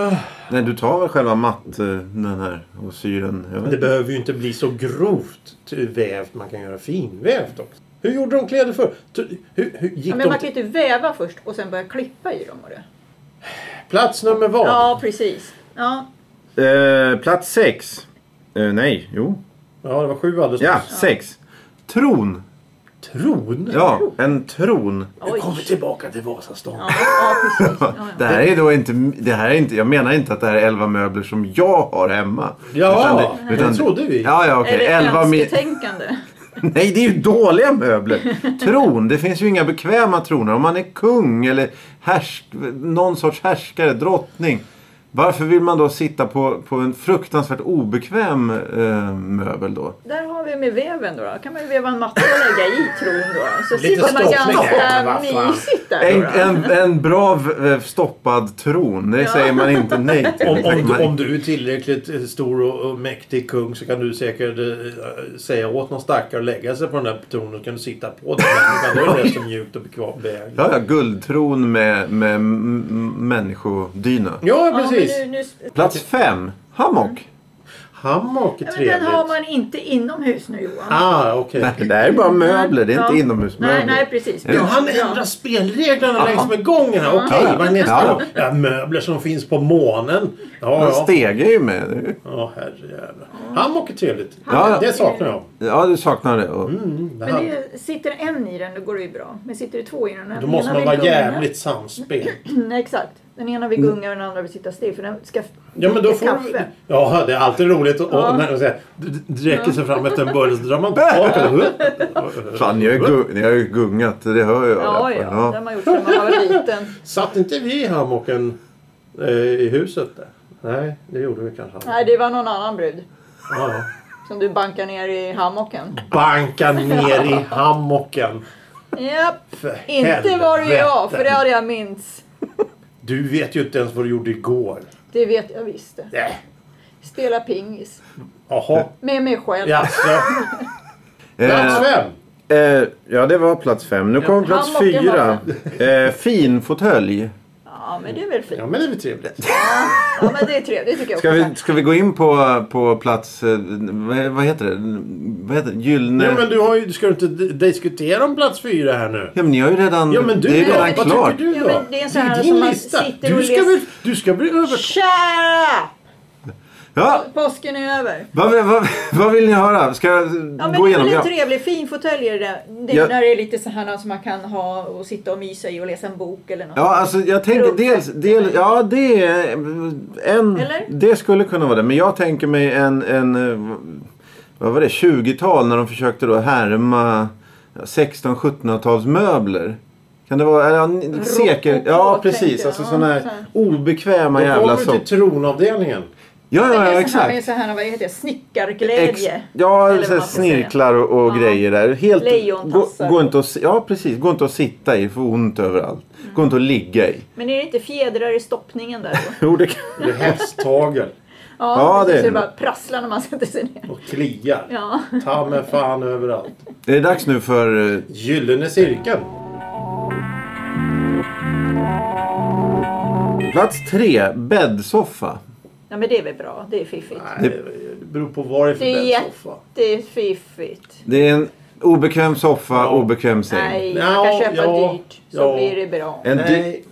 Speaker 3: Ah,
Speaker 1: Nej du tar väl själva matt eh, den här och syr den. Jag
Speaker 3: men det
Speaker 1: vet.
Speaker 3: behöver ju inte bli så grovt ty- vävt. Man kan göra finvävt också. Hur gjorde de kläder för? Hur, hur, gick
Speaker 2: Ja, men
Speaker 3: de
Speaker 2: man
Speaker 3: till
Speaker 2: kan ju inte väva först och sen börja klippa i dem. Och det.
Speaker 3: plats nummer vad?
Speaker 2: Ja, precis. Ja.
Speaker 1: Eh, plats sex. Eh, nej, jo.
Speaker 3: Ja, det var sju alldeles
Speaker 1: Ja,
Speaker 3: nyss.
Speaker 1: sex. Tron.
Speaker 3: Tron?
Speaker 1: Ja, en tron.
Speaker 3: Nu
Speaker 2: Oj.
Speaker 3: kommer vi tillbaka till Vasastan.
Speaker 2: Ja, ja, precis. Ja,
Speaker 1: Det
Speaker 2: ja.
Speaker 1: här är då inte, det här är inte, jag menar inte att det här är 11 möbler som jag har hemma.
Speaker 3: Ja,
Speaker 1: det,
Speaker 3: det trodde vi.
Speaker 1: Ja, ja, okej.
Speaker 2: Är det
Speaker 1: 11 mi-
Speaker 2: önsketänkande?
Speaker 1: Nej, det är ju dåliga möbler. Tron, det finns ju inga bekväma troner. Om man är kung eller härsk, någon sorts härskare, drottning. Varför vill man då sitta på, på en fruktansvärt obekväm eh, möbel då?
Speaker 2: Där har vi med veven då. då. kan man ju veva en matta och lägga i tron då. då. Så
Speaker 3: Lite
Speaker 2: sitter man
Speaker 3: stoppning där,
Speaker 2: ganska
Speaker 3: vad fan.
Speaker 2: mysigt där.
Speaker 1: En,
Speaker 2: Då, då.
Speaker 1: en, en bra v- stoppad tron, det säger man inte nej till.
Speaker 3: Om, om,
Speaker 1: Man-
Speaker 3: du, om du är tillräckligt eh, stor och, och mäktig kung så kan du säkert eh, säga åt någon stackare att lägga sig på den där tronen så kan du sitta på den. Men Då är det rätt så mjukt och bekvämt.
Speaker 1: Ja, ja, guldtron med, med m- m- människodyna.
Speaker 3: Ja,
Speaker 2: Ja, men
Speaker 3: precis.
Speaker 2: nu, nu...
Speaker 1: Plats fem,
Speaker 3: Mm.
Speaker 1: hammock.
Speaker 3: Hammock är
Speaker 2: Ja, men den har
Speaker 3: trevligt.
Speaker 2: man inte inomhus nu Johan.
Speaker 3: Ah, okej.
Speaker 1: Nej, det där är bara möbler, det är
Speaker 2: Ja.
Speaker 1: inte inomhusmöbler.
Speaker 2: Nej, nej precis.
Speaker 3: Ja,
Speaker 2: Bra,
Speaker 3: han
Speaker 2: bra.
Speaker 3: ändrar spelreglerna längs med gången. här. Okej,
Speaker 1: Ja.
Speaker 3: vad är nästa
Speaker 1: Ja.
Speaker 3: gång? Ja, möbler som finns på månen.
Speaker 1: Man
Speaker 3: Ja, ja.
Speaker 1: stegar ju med. Det är ju-
Speaker 3: Ja, herrejävlar. Hammock är trevligt.
Speaker 1: Ja.
Speaker 3: Det saknar jag.
Speaker 1: Ja, du saknar det. Och,
Speaker 3: Mm, det
Speaker 2: Men det
Speaker 3: här-
Speaker 2: är, sitter en i den då går det ju bra. Men sitter det två i den den
Speaker 3: Då måste
Speaker 2: ena
Speaker 3: man
Speaker 2: vill
Speaker 3: vara
Speaker 2: gunga.
Speaker 3: jävligt samspel.
Speaker 2: Nej, exakt. Den ena vill gunga och den andra vill sitta still för den ska
Speaker 3: Ja, men då
Speaker 2: dricka
Speaker 3: får
Speaker 2: kaffe.
Speaker 3: Ja, det är alltid roligt att
Speaker 2: Ja.
Speaker 3: och när de säger, d- d- dräcker sig fram efter en burgare så drar man tillbaka.
Speaker 1: fan, jag har ju gu- jag har ju gungat, det hör jag. i alla
Speaker 2: Ja,
Speaker 1: fall.
Speaker 2: ja. Det har man gjort sedan man var liten.
Speaker 3: Satt inte vi i hammocken eh, i huset där? Nej, det gjorde vi kanske aldrig.
Speaker 2: Nej, det var någon annan brud
Speaker 3: Ja.
Speaker 2: som du bankar ner i hammocken.
Speaker 3: Banka ner i hammocken.
Speaker 2: Japp.
Speaker 3: För
Speaker 2: Inte var det jag, för det
Speaker 3: helvete.
Speaker 2: hade jag minns.
Speaker 3: Du vet ju inte ens vad du gjorde igår.
Speaker 2: Det vet jag visst. det.
Speaker 3: Äh.
Speaker 2: Spela pingis.
Speaker 3: Jaha,
Speaker 2: Med mig själv.
Speaker 3: jaså. Plats
Speaker 1: Eh,
Speaker 3: fem.
Speaker 1: eh, ja, det var plats fem. Nu kommer plats
Speaker 2: Hammocken
Speaker 1: fyra. Eh, fin fåtölj.
Speaker 2: Ja, men det är väl fint.
Speaker 3: Ja, men det är väl trevligt.
Speaker 2: Ja, men det är trevligt tycker jag
Speaker 1: Ska
Speaker 2: också.
Speaker 1: vi, ska vi gå in på, på plats... eh, Vad, vad heter det? Vad heter det? Gyllene...
Speaker 3: Ja, men du har ju, ska du inte d- diskutera om plats fyra här nu?
Speaker 1: Ja, men ni har ju redan...
Speaker 3: Ja, men du,
Speaker 1: det är
Speaker 3: då?
Speaker 1: redan
Speaker 3: vad
Speaker 1: klart.
Speaker 3: tycker du
Speaker 2: Ja,
Speaker 3: då?
Speaker 2: men det är en sån här
Speaker 3: din
Speaker 2: som man
Speaker 3: lista.
Speaker 2: sitter
Speaker 3: Du
Speaker 2: och
Speaker 3: ska,
Speaker 2: läser.
Speaker 3: väl, du ska bli över...
Speaker 2: Kära!
Speaker 1: Ja,
Speaker 2: Påsken är över.
Speaker 1: vad, vill- vad, vad vill ni höra? Ska jag
Speaker 2: Ja, men
Speaker 1: gå
Speaker 2: det är
Speaker 1: igenom?
Speaker 2: väl en
Speaker 1: Ja.
Speaker 2: trevlig fin fåtölj är det där. Det
Speaker 1: Ja.
Speaker 2: är där det är lite så här som man kan ha och sitta och mysa i och läsa en bok eller något.
Speaker 1: ja, alltså jag tänker dels... Del, ja, det är en...
Speaker 2: Eller?
Speaker 1: Det skulle kunna vara det. Men jag tänker mig en... en eh, vad var det? 20-tal när de försökte då härma 16-17-talsmöbler. Kan det vara... Eller, ja, ni- sekel...
Speaker 2: Rokoko,
Speaker 1: Ja,
Speaker 2: tänker
Speaker 1: precis.
Speaker 2: jag.
Speaker 1: Alltså
Speaker 2: Ja,
Speaker 1: sådana
Speaker 2: så
Speaker 1: här
Speaker 2: här.
Speaker 1: obekväma
Speaker 3: Då
Speaker 1: jävla
Speaker 3: kommer vi
Speaker 1: saker.
Speaker 3: till tronavdelningen.
Speaker 1: Ja,
Speaker 2: Men
Speaker 1: ja,
Speaker 2: det
Speaker 1: ja,
Speaker 2: är så här, det är
Speaker 1: exakt.
Speaker 2: så här, vad heter det,
Speaker 1: Ex,
Speaker 2: snickarglädje.
Speaker 1: ja,
Speaker 2: Eller vad
Speaker 1: så här
Speaker 2: man ska säga.
Speaker 1: snirklar och, och
Speaker 2: Ja.
Speaker 1: grejer där. Helt, gå,
Speaker 2: Lejontassar.
Speaker 1: gå inte att, si- ja, precis. Gå inte att sitta i, för ont överallt. Gå inte att ligga i.
Speaker 2: Men är det inte fjädrar i stoppningen där då?
Speaker 1: Jo, det kan...
Speaker 3: Det är hästtagel.
Speaker 1: Ja, det är
Speaker 2: så det
Speaker 1: det.
Speaker 2: bara prasslar när man sätter sig ner.
Speaker 3: Och kliar.
Speaker 2: Ja.
Speaker 3: Ta mig fan överallt.
Speaker 1: Är det dags nu för... eh,
Speaker 3: Gyllene cirkeln.
Speaker 1: Plats tre, bäddsoffa.
Speaker 2: ja, men det är väl bra. Det är fiffigt.
Speaker 3: Nej, det beror på vad det är för
Speaker 2: Det är
Speaker 3: bäddsoffa.
Speaker 2: Det är fiffigt.
Speaker 1: Det är en obekväm soffa,
Speaker 3: Ja.
Speaker 1: obekväm säng.
Speaker 2: Nej,
Speaker 3: Ja,
Speaker 2: man kan köpa
Speaker 3: ja,
Speaker 2: dyrt så
Speaker 3: ja.
Speaker 2: blir det bra.
Speaker 1: En dy-
Speaker 3: Nej,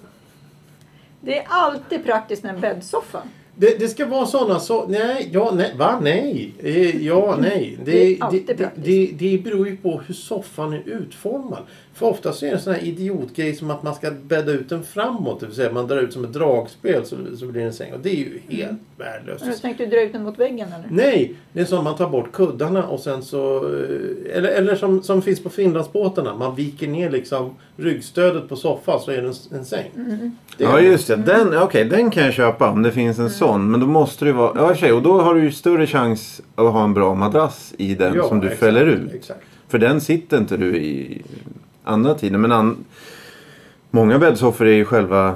Speaker 2: Det är alltid praktiskt med en bäddsoffa.
Speaker 3: det, det ska vara sådana så... Nej, ja, nej, va? Nej. Eh, Ja, nej.
Speaker 2: Det
Speaker 3: Det,
Speaker 2: är alltid
Speaker 3: det, det,
Speaker 2: praktiskt.
Speaker 3: det, det beror ju på hur soffan är utformad. För ofta så är det en sån här idiotgrej som att man ska bädda ut den framåt. Det vill säga man drar ut som ett dragspel så, så blir det en säng. Och det är
Speaker 2: Mm.
Speaker 3: ju helt värdelöst.
Speaker 2: Har du tänkt du dra ut den mot väggen eller?
Speaker 3: Nej, det är som man tar bort kuddarna och sen så... eh, Eller, eller som, som finns på Finlandsbåtarna. Man viker ner liksom ryggstödet på soffan så är det en, en säng.
Speaker 2: Mm.
Speaker 3: Det är-
Speaker 1: Ja just det, den, okej, den kan jag köpa om det finns en sån. Men då måste det vara, ja i och för sig, och då har du ju större chans att ha en bra madrass i den
Speaker 3: Ja,
Speaker 1: som du
Speaker 3: exakt,
Speaker 1: fäller ut.
Speaker 3: Exakt.
Speaker 1: För den sitter inte du i andra tiden. Men an... många bäddsoffor är ju själva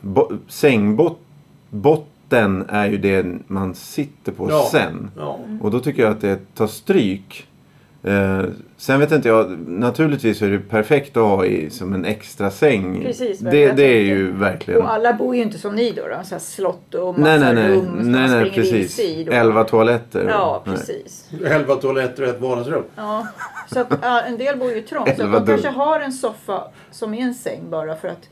Speaker 1: bo... sängbotten är ju det man sitter på
Speaker 3: Ja.
Speaker 1: sen.
Speaker 3: Ja.
Speaker 1: Och då tycker jag att det tar stryk. Eh, sen vet inte jag, naturligtvis är det perfekt att ha i som en extra säng.
Speaker 2: Precis, vad
Speaker 1: det,
Speaker 2: jag
Speaker 1: det är
Speaker 2: tänkte.
Speaker 1: ju verkligen...
Speaker 2: Och alla bor ju inte som ni då. då. Så här slott och massa
Speaker 1: Nej, nej, nej.
Speaker 2: rum som man
Speaker 1: nej, nej
Speaker 2: springer
Speaker 1: precis.
Speaker 2: in sig i. Då.
Speaker 1: Elva toaletter.
Speaker 2: Ja,
Speaker 1: Nej.
Speaker 2: precis.
Speaker 3: Elva toaletter och ett vardagsrum.
Speaker 2: Ja. Så att, ja, en del bor ju trångt. Så att
Speaker 1: Elva
Speaker 2: de
Speaker 1: dörr.
Speaker 2: kanske har en soffa som är en säng bara för att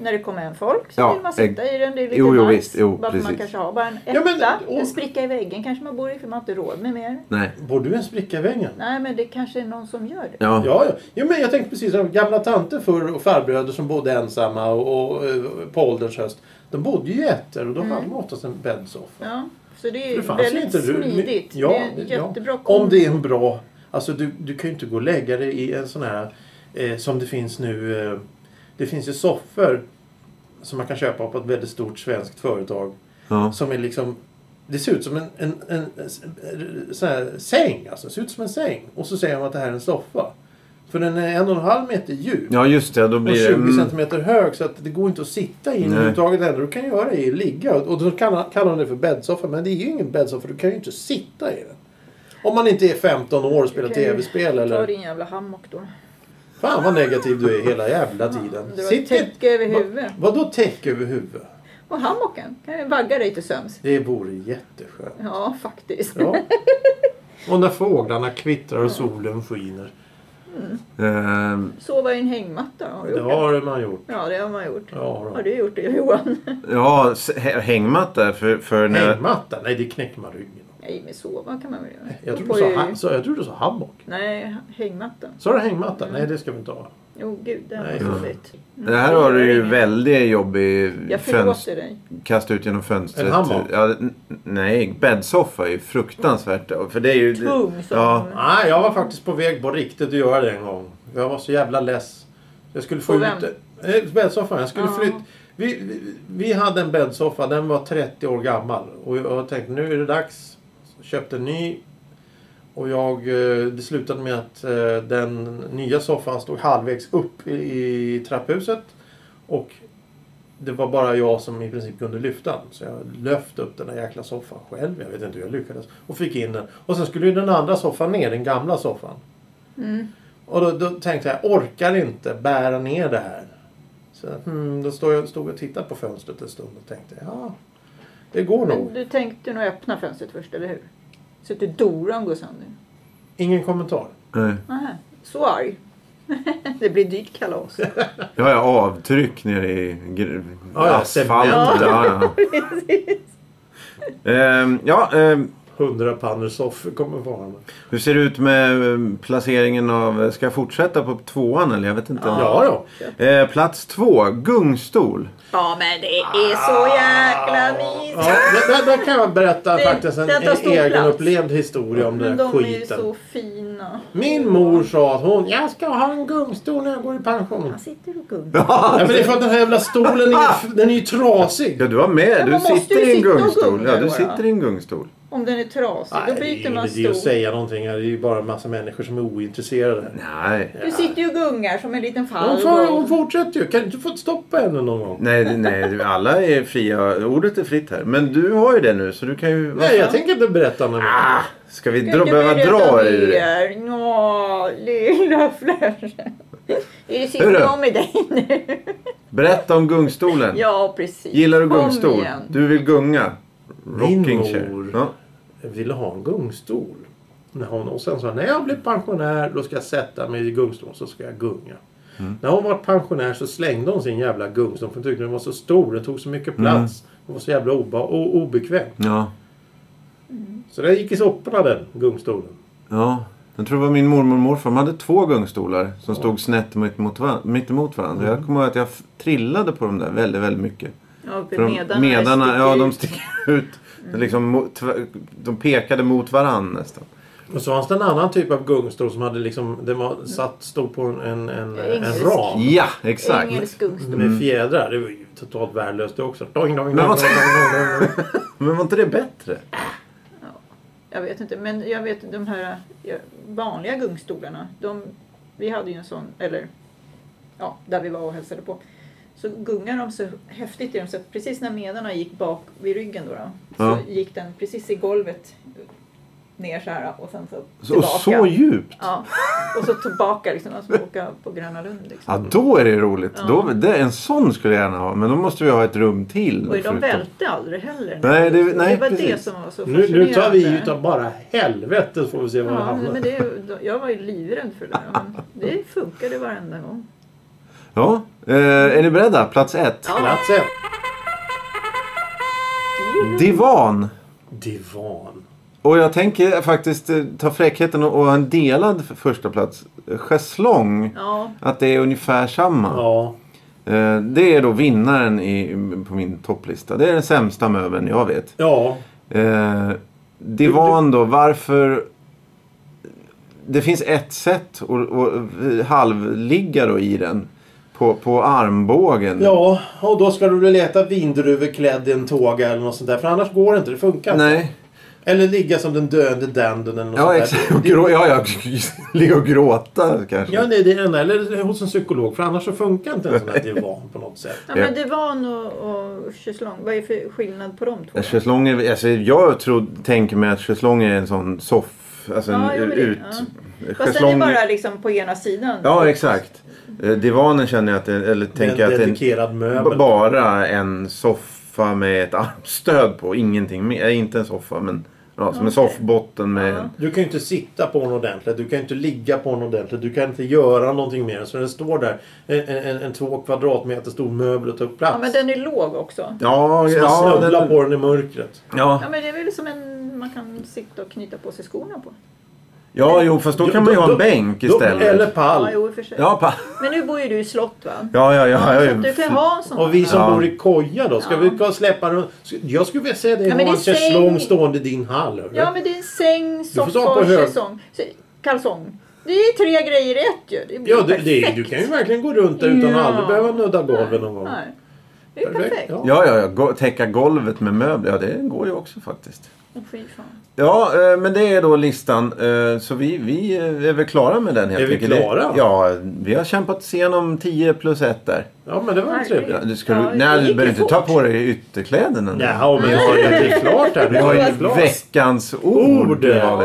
Speaker 2: när det kommer hem folk så
Speaker 1: Ja,
Speaker 2: vill man sitta i den. Det är lite
Speaker 1: jo, jo,
Speaker 2: nice.
Speaker 1: visst, jo,
Speaker 2: bara för man
Speaker 1: precis.
Speaker 2: kanske har bara en etta,
Speaker 3: Ja, men- och-
Speaker 2: en spricka i väggen kanske man bor i för man har inte råd med mer.
Speaker 1: Nej.
Speaker 3: Bor du en spricka i väggen?
Speaker 2: Nej, men det kanske är någon som gör det.
Speaker 1: Ja.
Speaker 3: Ja, ja. Jo, men jag tänkte precis som gamla tanter förr och farbröder som bodde ensamma och, och, eh, på ålderns höst. De bodde ju i ettor och då hade de oftast en bäddsoffa.
Speaker 2: Ja, så det är
Speaker 3: Det fanns ju
Speaker 2: väldigt
Speaker 3: inte rum.
Speaker 2: smidigt.
Speaker 3: Ja,
Speaker 2: det är en jättebra
Speaker 3: ja.
Speaker 2: kombo.
Speaker 3: Om det är en bra... Alltså du, du kan ju inte gå och lägga dig i en sån här eh, som det finns nu. Eh, det finns ju soffor som man kan köpa på ett väldigt stort svenskt företag.
Speaker 1: Ja.
Speaker 3: Som är liksom... Det ser ut som en, en, en, en sån här säng. Alltså, det ser ut som en säng. Och så säger de att det här är en soffa. För den är en och en halv meter djup.
Speaker 1: ja, just det. Då
Speaker 3: Och
Speaker 1: blir det...
Speaker 3: 20
Speaker 1: mm.
Speaker 3: centimeter hög så att det går inte att sitta i den
Speaker 1: Nej.
Speaker 3: överhuvudtaget. Det enda du kan göra är att ligga. Och då kallar kallar de det för bäddsoffa. Men det är ju ingen bäddsoffa. Du kan ju inte sitta i den. Om man inte är 15 år och spelar
Speaker 2: Okej,
Speaker 3: tv-spel
Speaker 2: Ta
Speaker 3: eller...
Speaker 2: din jävla hammock då.
Speaker 3: Fan vad negativ du är hela jävla tiden.
Speaker 2: Du har ett
Speaker 3: Sitt i...
Speaker 2: täcke över huvudet.
Speaker 3: Vadå täcke över huvudet?
Speaker 2: Och hammocken kan ju vagga dig till sömns.
Speaker 3: Det vore jätteskönt.
Speaker 2: Ja, faktiskt.
Speaker 3: Ja. Och när fåglarna kvittrar och solen skiner.
Speaker 1: Ehm,
Speaker 2: Sova i en hängmatta har du
Speaker 3: Det
Speaker 2: gjort. Det.
Speaker 3: har man gjort.
Speaker 2: Ja, det har man gjort.
Speaker 3: Ja, då.
Speaker 2: Har du gjort det Johan?
Speaker 1: Ja, s- hä- hängmatta för, för när...
Speaker 3: Hängmatta? Nej, det knäcker man ryggen av.
Speaker 2: Nej, men sova kan man väl göra?
Speaker 3: Jag
Speaker 2: Gå
Speaker 3: tror
Speaker 2: på
Speaker 3: du sa,
Speaker 2: i-
Speaker 3: ha- så, jag tror du sa hammock.
Speaker 2: Nej, hängmattan.
Speaker 3: Sa du hängmatta? Nej, det ska vi inte ha.
Speaker 2: Jo, gud, det
Speaker 3: Nej.
Speaker 2: här var jobbigt.
Speaker 1: Mm. Det här har du ju
Speaker 2: Ingen.
Speaker 1: väldigt jobbig
Speaker 2: Mm. Jag
Speaker 1: fönst...
Speaker 2: förlåter dig.
Speaker 1: Kasta ut genom fönstret.
Speaker 3: En hammock?
Speaker 1: ja, n- nej, bäddsoffa är ju fruktansvärt. För det är ju...
Speaker 2: Tung som...
Speaker 1: Ja.
Speaker 3: Nej, jag var faktiskt på väg på riktigt att göra det en gång. Jag var så jävla less. Jag skulle få
Speaker 2: På
Speaker 3: ut...
Speaker 2: vem?
Speaker 3: Eh, Bäddsoffan. Jag skulle
Speaker 2: Ja.
Speaker 3: flytta... Vi, vi, vi hade en bäddsoffa. Den var 30 år gammal. Och jag tänkte nu är det dags. Så Köpte en ny. Och jag, eh, det slutade med att eh, den nya soffan stod halvvägs upp i, i trapphuset. Och det var bara jag som i princip kunde lyfta den. Så jag lyfte upp den där jäkla soffan själv. Jag vet inte hur jag lyckades. Och fick in den. Och sen skulle ju den andra soffan ner, den gamla soffan.
Speaker 2: Mm.
Speaker 3: Och då, då tänkte jag, jag orkar inte bära ner det här. Så hmm, då stod jag, stod jag och tittade på fönstret en stund och tänkte, ja, det går nog.
Speaker 2: Men du tänkte nog öppna fönstret först, eller hur? Så att du doran går sönder.
Speaker 3: Ingen kommentar.
Speaker 1: Nej.
Speaker 2: Nähä, så arg. det blir dyrt kalas.
Speaker 1: Jag har ju avtryck nere i gr-
Speaker 3: Ja, ja,
Speaker 1: asfalten. Ja, ja. Ehm, ja, ehm,
Speaker 3: Hundra pannor soffor kommer varande.
Speaker 1: hur ser det ut med ehm, placeringen av... Ska jag fortsätta på tvåan eller? Jag vet inte.
Speaker 3: Ja då.
Speaker 1: Eh, plats två, gungstol.
Speaker 2: Ja, men det är
Speaker 1: Ah.
Speaker 2: så jäkla mysigt.
Speaker 3: Ja, där, där, där kan jag berätta
Speaker 2: Det-
Speaker 3: faktiskt en,
Speaker 2: den tar
Speaker 3: en
Speaker 2: stor
Speaker 3: egen
Speaker 2: plats.
Speaker 3: upplevd historia om
Speaker 2: Men
Speaker 3: den där
Speaker 2: de är ju
Speaker 3: skiten.
Speaker 2: så fina Ja.
Speaker 3: Min mor sa att hon, jag ska ha en gungstol när jag går i pension.
Speaker 4: Han sitter och gungar.
Speaker 1: Ja,
Speaker 3: Ja, men det är för att den här jävla stolen är, ju- den är ju trasig.
Speaker 1: du var med.
Speaker 2: Ja,
Speaker 1: Du
Speaker 2: man måste
Speaker 1: sitter
Speaker 2: ju
Speaker 1: i en
Speaker 2: sitta och
Speaker 1: gungstol.
Speaker 2: gunga
Speaker 1: Ja, du
Speaker 2: då,
Speaker 1: sitter
Speaker 2: ja.
Speaker 1: i en gungstol.
Speaker 2: Om den är trasig, då
Speaker 3: Nej, det är
Speaker 2: byter
Speaker 3: ingen
Speaker 2: man
Speaker 3: idé att
Speaker 2: stol.
Speaker 3: säga någonting här. Det är ju bara en massa människor som är ointresserade.
Speaker 1: Nej.
Speaker 2: Du sitter ju och gungar som en liten
Speaker 3: Hon, får, hon
Speaker 2: farbror.
Speaker 3: fortsätter ju. Kan du inte få stoppa henne någon gång?
Speaker 1: Nej, det- nej, det- alla är fria. Ordet är fritt här. Men du har ju det nu så du kan ju...
Speaker 3: Nej, jag tänker inte berätta något.
Speaker 1: Ah, ska vi
Speaker 2: Kan
Speaker 1: dra,
Speaker 2: du
Speaker 1: behöva
Speaker 2: berätta
Speaker 1: dra ur det?
Speaker 2: mer? Nå, lilla flärsen. Är det
Speaker 1: Hur då?
Speaker 2: synd om med dig nu?
Speaker 1: Berätta om gungstolen.
Speaker 2: Ja, precis.
Speaker 1: Gillar du
Speaker 2: Kom
Speaker 1: gungstol?
Speaker 2: igen.
Speaker 1: Du vill gunga?
Speaker 3: Min
Speaker 1: Rocking chair.
Speaker 3: mor.
Speaker 1: Ja.
Speaker 3: Jag ville ha en gungstol. När hon, och sen sa hon, när jag blir pensionär då ska jag sätta mig i gungstolen så ska jag gunga. När hon var pensionär så slängde hon sin jävla gungstol för hon tyckte den var så stor. Den tog så mycket plats. Den var så jävla oba- o- obekväm.
Speaker 1: Ja.
Speaker 3: Så den gick i soporna den gungstolen.
Speaker 1: ja. Jag tror det var min mormor och morfar. De hade två gungstolar som stod snett mitt emot, va- mitt emot varandra. Jag kommer ihåg att jag f- trillade på dem där väldigt, väldigt mycket.
Speaker 2: Ja,
Speaker 1: För de-
Speaker 2: medarna,
Speaker 1: medarna,
Speaker 2: sticker
Speaker 1: ja
Speaker 2: ut. Mm.
Speaker 1: de sticker ut. Det Liksom, mo- tv- de pekade mot varandra nästan.
Speaker 3: Och så fanns det en annan typ av gungstol som hade liksom, den var satt, stod på en, en, en, en
Speaker 2: Engelsk.
Speaker 3: ram.
Speaker 1: Ja, exakt.
Speaker 2: Engelsk gungstol.
Speaker 3: Med fjädrar. Det var ju totalt värdelöst det också. Doing, doing,
Speaker 1: Men
Speaker 3: doing,
Speaker 1: vad-
Speaker 3: doing, doing, doing.
Speaker 1: Men var inte det bättre?
Speaker 2: Jag vet inte, men jag vet de här ja, vanliga gungstolarna. De, vi hade ju en sån, eller ja, där vi var och hälsade på. Så gungade de så häftigt i dem så att precis när medarna gick bak vid ryggen då, då
Speaker 1: Ja.
Speaker 2: så gick den precis i golvet ner så här och sen så
Speaker 1: Så, och
Speaker 2: tillbaka.
Speaker 1: så djupt?
Speaker 2: ja, och så tillbaka liksom, och så åka på Gröna Lund liksom.
Speaker 1: Ja, då är det roligt.
Speaker 2: Ja.
Speaker 1: Då, det, en sån skulle jag gärna ha. Men då måste vi ha ett rum till.
Speaker 2: Och de
Speaker 1: förutom-
Speaker 2: välte aldrig heller.
Speaker 1: Nej, det- nej,
Speaker 2: det var det
Speaker 1: precis.
Speaker 2: som var så
Speaker 3: Nu, nu tar vi
Speaker 2: fascinerande.
Speaker 3: ju utav bara helvete får vi se var det
Speaker 2: Ja,
Speaker 3: hamnar.
Speaker 2: men det, är ju- jag var ju livrädd för det. där, men Det funkade varenda gång.
Speaker 1: Ja. Eh, är ni beredda? Plats ett.
Speaker 3: Plats ett.
Speaker 1: Divan.
Speaker 3: Divan.
Speaker 1: Och jag tänker faktiskt eh, ta fräckheten och, och ha en delad f- första plats. Eh, Schäslong.
Speaker 2: Ja,
Speaker 1: Att det är ungefär samma.
Speaker 3: Ja.
Speaker 1: Eh, det är då vinnaren i, på min topplista. Det är den sämsta möbeln jag vet.
Speaker 3: Ja.
Speaker 1: Eh, divan då, varför... Det finns ett sätt att, att halvligga då i den. På, på armbågen.
Speaker 3: Ja, och då ska du väl äta vindruvor klädd i en tåga eller något sånt där. För annars går det inte. Det funkar inte.
Speaker 1: Nej.
Speaker 3: Eller ligga som den döende danden eller något
Speaker 1: Ja,
Speaker 3: sånt
Speaker 1: exakt.
Speaker 3: där.
Speaker 1: Och grå, ja, ja. Ligga och gråta kanske.
Speaker 3: Ja, nej, det är det enda. Eller hos en psykolog. För annars så funkar inte en sån här divan på något sätt.
Speaker 2: ja
Speaker 1: Ja.
Speaker 2: men divan och, och schäslong, vad är för skillnad på de två?
Speaker 1: Schäslonger, alltså, jag tror, tänker mig att schäslong är en sån soff... Alltså en
Speaker 2: Ja, jo, men det-
Speaker 1: ut...
Speaker 2: Fast den är
Speaker 1: schäslong-
Speaker 2: bara liksom på ena sidan.
Speaker 1: Ja, exakt. Eh, Divanen känner jag att det, eller
Speaker 3: Det är en
Speaker 1: tänker jag att det är en
Speaker 3: dedikerad
Speaker 1: B-
Speaker 3: möbel.
Speaker 1: Bara en soffa med ett armstöd på. Ingenting mer. Eh, Inte en soffa men ja, som en
Speaker 2: Okej.
Speaker 1: soffbotten med.
Speaker 2: Ja.
Speaker 3: Du kan ju inte sitta på den ordentligt. Du kan ju inte ligga på den ordentligt. Du kan inte göra någonting mer. Så den står där. En, en, en, en två kvadratmeter stor möbel och tar upp plats.
Speaker 2: Ja, men den är låg också.
Speaker 1: Ja,
Speaker 3: Så man
Speaker 1: ja,
Speaker 3: snubblar
Speaker 1: den,
Speaker 3: på den i mörkret.
Speaker 1: ja.
Speaker 2: Ja, men det är väl som en man kan sitta och knyta på sig skorna på.
Speaker 1: ja, jo fast då
Speaker 3: Jo,
Speaker 1: kan man ju
Speaker 3: då-
Speaker 1: ha en
Speaker 3: då-
Speaker 1: bänk
Speaker 3: Då- Eller
Speaker 1: istället.
Speaker 2: Ja,
Speaker 3: pall.
Speaker 2: jo, i och för sig.
Speaker 1: Ja, pa.
Speaker 2: Men nu bor ju du i slott va?
Speaker 1: ja, ja, ja.
Speaker 2: så
Speaker 1: ja,
Speaker 2: att du kan ha en sån.
Speaker 3: Och vi som
Speaker 1: Ja.
Speaker 3: bor i koja då? Ska
Speaker 2: Ja.
Speaker 3: vi gå och släppa den? Ska- Jag skulle vilja se dig
Speaker 2: Ja,
Speaker 3: ha
Speaker 2: men
Speaker 3: en
Speaker 2: det är
Speaker 3: schäslong
Speaker 2: säng-
Speaker 3: stående i din hall. hörru.
Speaker 2: Ja, men det är en säng,
Speaker 3: får stå
Speaker 2: soffa
Speaker 3: på
Speaker 2: och
Speaker 3: hög.
Speaker 2: säsong. Så- kalsong. Det är tre grejer i ett ju. Det blir
Speaker 3: ja
Speaker 2: ju
Speaker 3: det, det,
Speaker 2: perfekt.
Speaker 3: du kan ju verkligen gå runt där utan
Speaker 2: Ja.
Speaker 3: att aldrig behöva nudda golvet någon gång.
Speaker 2: Nej. Det är ju
Speaker 3: Perfekt,
Speaker 2: perfekt.
Speaker 3: Ja.
Speaker 1: Ja, ja, ja. Go- Täcka golvet med möbler. Ja, det går ju också faktiskt.
Speaker 2: Åh, fy fan.
Speaker 1: Ja, eh, men det är då listan. Eh, Så vi, vi eh, är väl klara med den helt
Speaker 3: Är vi
Speaker 1: enkelt. Det-
Speaker 3: klara?
Speaker 1: Ja, vi har kämpat oss igenom 10 plus 1 där.
Speaker 3: ja, men det var ju
Speaker 2: Nej.
Speaker 1: Ja,
Speaker 3: trevligt.
Speaker 1: du, ska,
Speaker 2: Ja, det
Speaker 1: nej, du
Speaker 2: gick
Speaker 1: behöver
Speaker 2: ju
Speaker 1: inte ta
Speaker 2: fort.
Speaker 1: på dig ytterkläderna. nu.
Speaker 3: Ja, men jag har ju det klart här.
Speaker 1: Vi har ju
Speaker 3: klart.
Speaker 1: veckans ord.
Speaker 3: Ord.
Speaker 1: det har vi.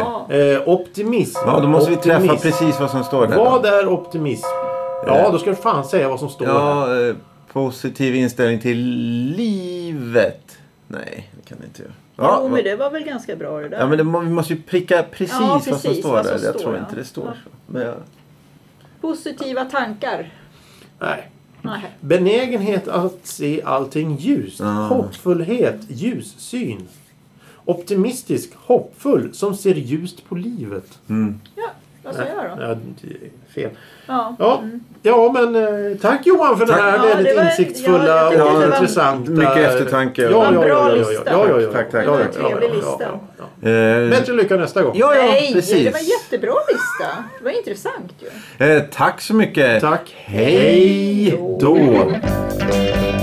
Speaker 2: Ja.
Speaker 3: Eh, optimism.
Speaker 1: Ja, då måste vi träffa
Speaker 3: Optimism.
Speaker 1: precis vad som står där.
Speaker 3: Vad är optimism? Ja, då ska du fan säga vad som står här.
Speaker 1: Ja, eh, positiv inställning till livet. Nej, det kan vi inte göra. Ja,
Speaker 2: jo,
Speaker 1: va-
Speaker 2: men det var väl ganska bra det där.
Speaker 1: ja, men det, må- vi måste ju pricka precis,
Speaker 2: Ja,
Speaker 1: vad som
Speaker 2: precis,
Speaker 1: står
Speaker 2: vad
Speaker 1: där.
Speaker 2: som
Speaker 1: jag
Speaker 2: står,
Speaker 1: tror
Speaker 2: ja.
Speaker 1: inte det står
Speaker 2: Ja.
Speaker 1: så. Men jag,
Speaker 2: Positiva tankar.
Speaker 3: Nej.
Speaker 2: Nej.
Speaker 3: Benägenhet att se allting ljust.
Speaker 1: Ah.
Speaker 3: Hoppfullhet, ljussyn.
Speaker 1: Mm.
Speaker 3: Optimistisk, hoppfull, som ser ljust på livet.
Speaker 2: Ja, ja, Vad sa jag då?
Speaker 3: Ja, det- fel.
Speaker 2: Ja.
Speaker 3: Ja, ja men eh, tack Johan för den här
Speaker 2: Ja,
Speaker 3: väldigt
Speaker 2: det var- ja,
Speaker 3: insiktsfulla
Speaker 2: jag tyckte
Speaker 3: och
Speaker 2: det var-
Speaker 3: intressanta...
Speaker 1: Mycket eftertanke.
Speaker 3: Ja, ja,
Speaker 2: Vad
Speaker 3: ja,
Speaker 2: bra
Speaker 3: ja, ja,
Speaker 2: lista.
Speaker 3: ja, ja, ja.
Speaker 1: Tack, tack,
Speaker 3: Ja,
Speaker 1: tack.
Speaker 3: ja,
Speaker 2: Det
Speaker 3: ja,
Speaker 2: var en trevlig
Speaker 3: ja,
Speaker 2: lista.
Speaker 3: ja, ja, ja.
Speaker 1: Eh,
Speaker 3: Bättre lycka nästa gång.
Speaker 1: ja, ja,
Speaker 4: Nej,
Speaker 2: Det
Speaker 1: precis.
Speaker 2: var en jättebra lista. Det var intressant ju.
Speaker 1: Eh, tack så mycket.
Speaker 3: Tack.
Speaker 1: Hej då.